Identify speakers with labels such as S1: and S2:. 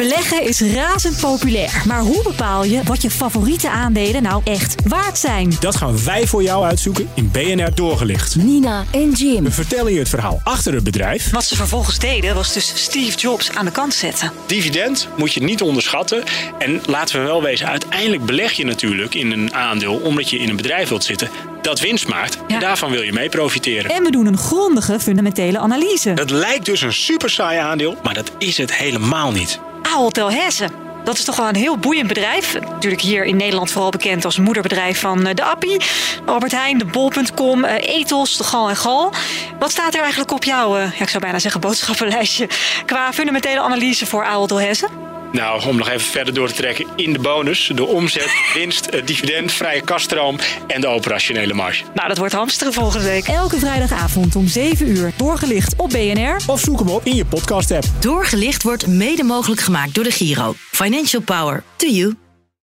S1: Beleggen is razend populair. Maar hoe bepaal je wat je favoriete aandelen nou echt waard zijn?
S2: Dat gaan wij voor jou uitzoeken in BNR Doorgelicht.
S3: Nina en Jim.
S2: We vertellen je het verhaal achter het bedrijf.
S4: Wat ze vervolgens deden was dus Steve Jobs aan de kant zetten.
S5: Dividend moet je niet onderschatten. En laten we wel wezen, uiteindelijk beleg je natuurlijk in een aandeel omdat je in een bedrijf wilt zitten dat winst maakt.
S4: Ja.
S5: En daarvan wil je mee profiteren.
S1: En we doen een grondige fundamentele analyse.
S5: Dat lijkt dus een super saai aandeel, maar dat is het helemaal niet.
S4: Ahold Delhaize. Dat is toch wel een heel boeiend bedrijf. Natuurlijk hier in Nederland vooral bekend als moederbedrijf van eh, de Appie. Albert Heijn, de Bol.com, eh, Ethos, de Gal en Gal. Wat staat er eigenlijk op jouw, eh, ja, ik zou bijna zeggen boodschappenlijstje... qua fundamentele analyse voor Ahold Delhaize?
S5: Nou, om nog even verder door te trekken. In de bonus, de omzet, winst, eh, dividend, vrije kaststroom en de operationele marge.
S4: Nou, dat wordt hamsteren volgende week.
S1: Elke vrijdagavond om 7 uur doorgelicht op BNR.
S2: Of zoek hem op in je podcast app.
S3: Doorgelicht wordt mede mogelijk gemaakt door de Giro. Financial Power to you.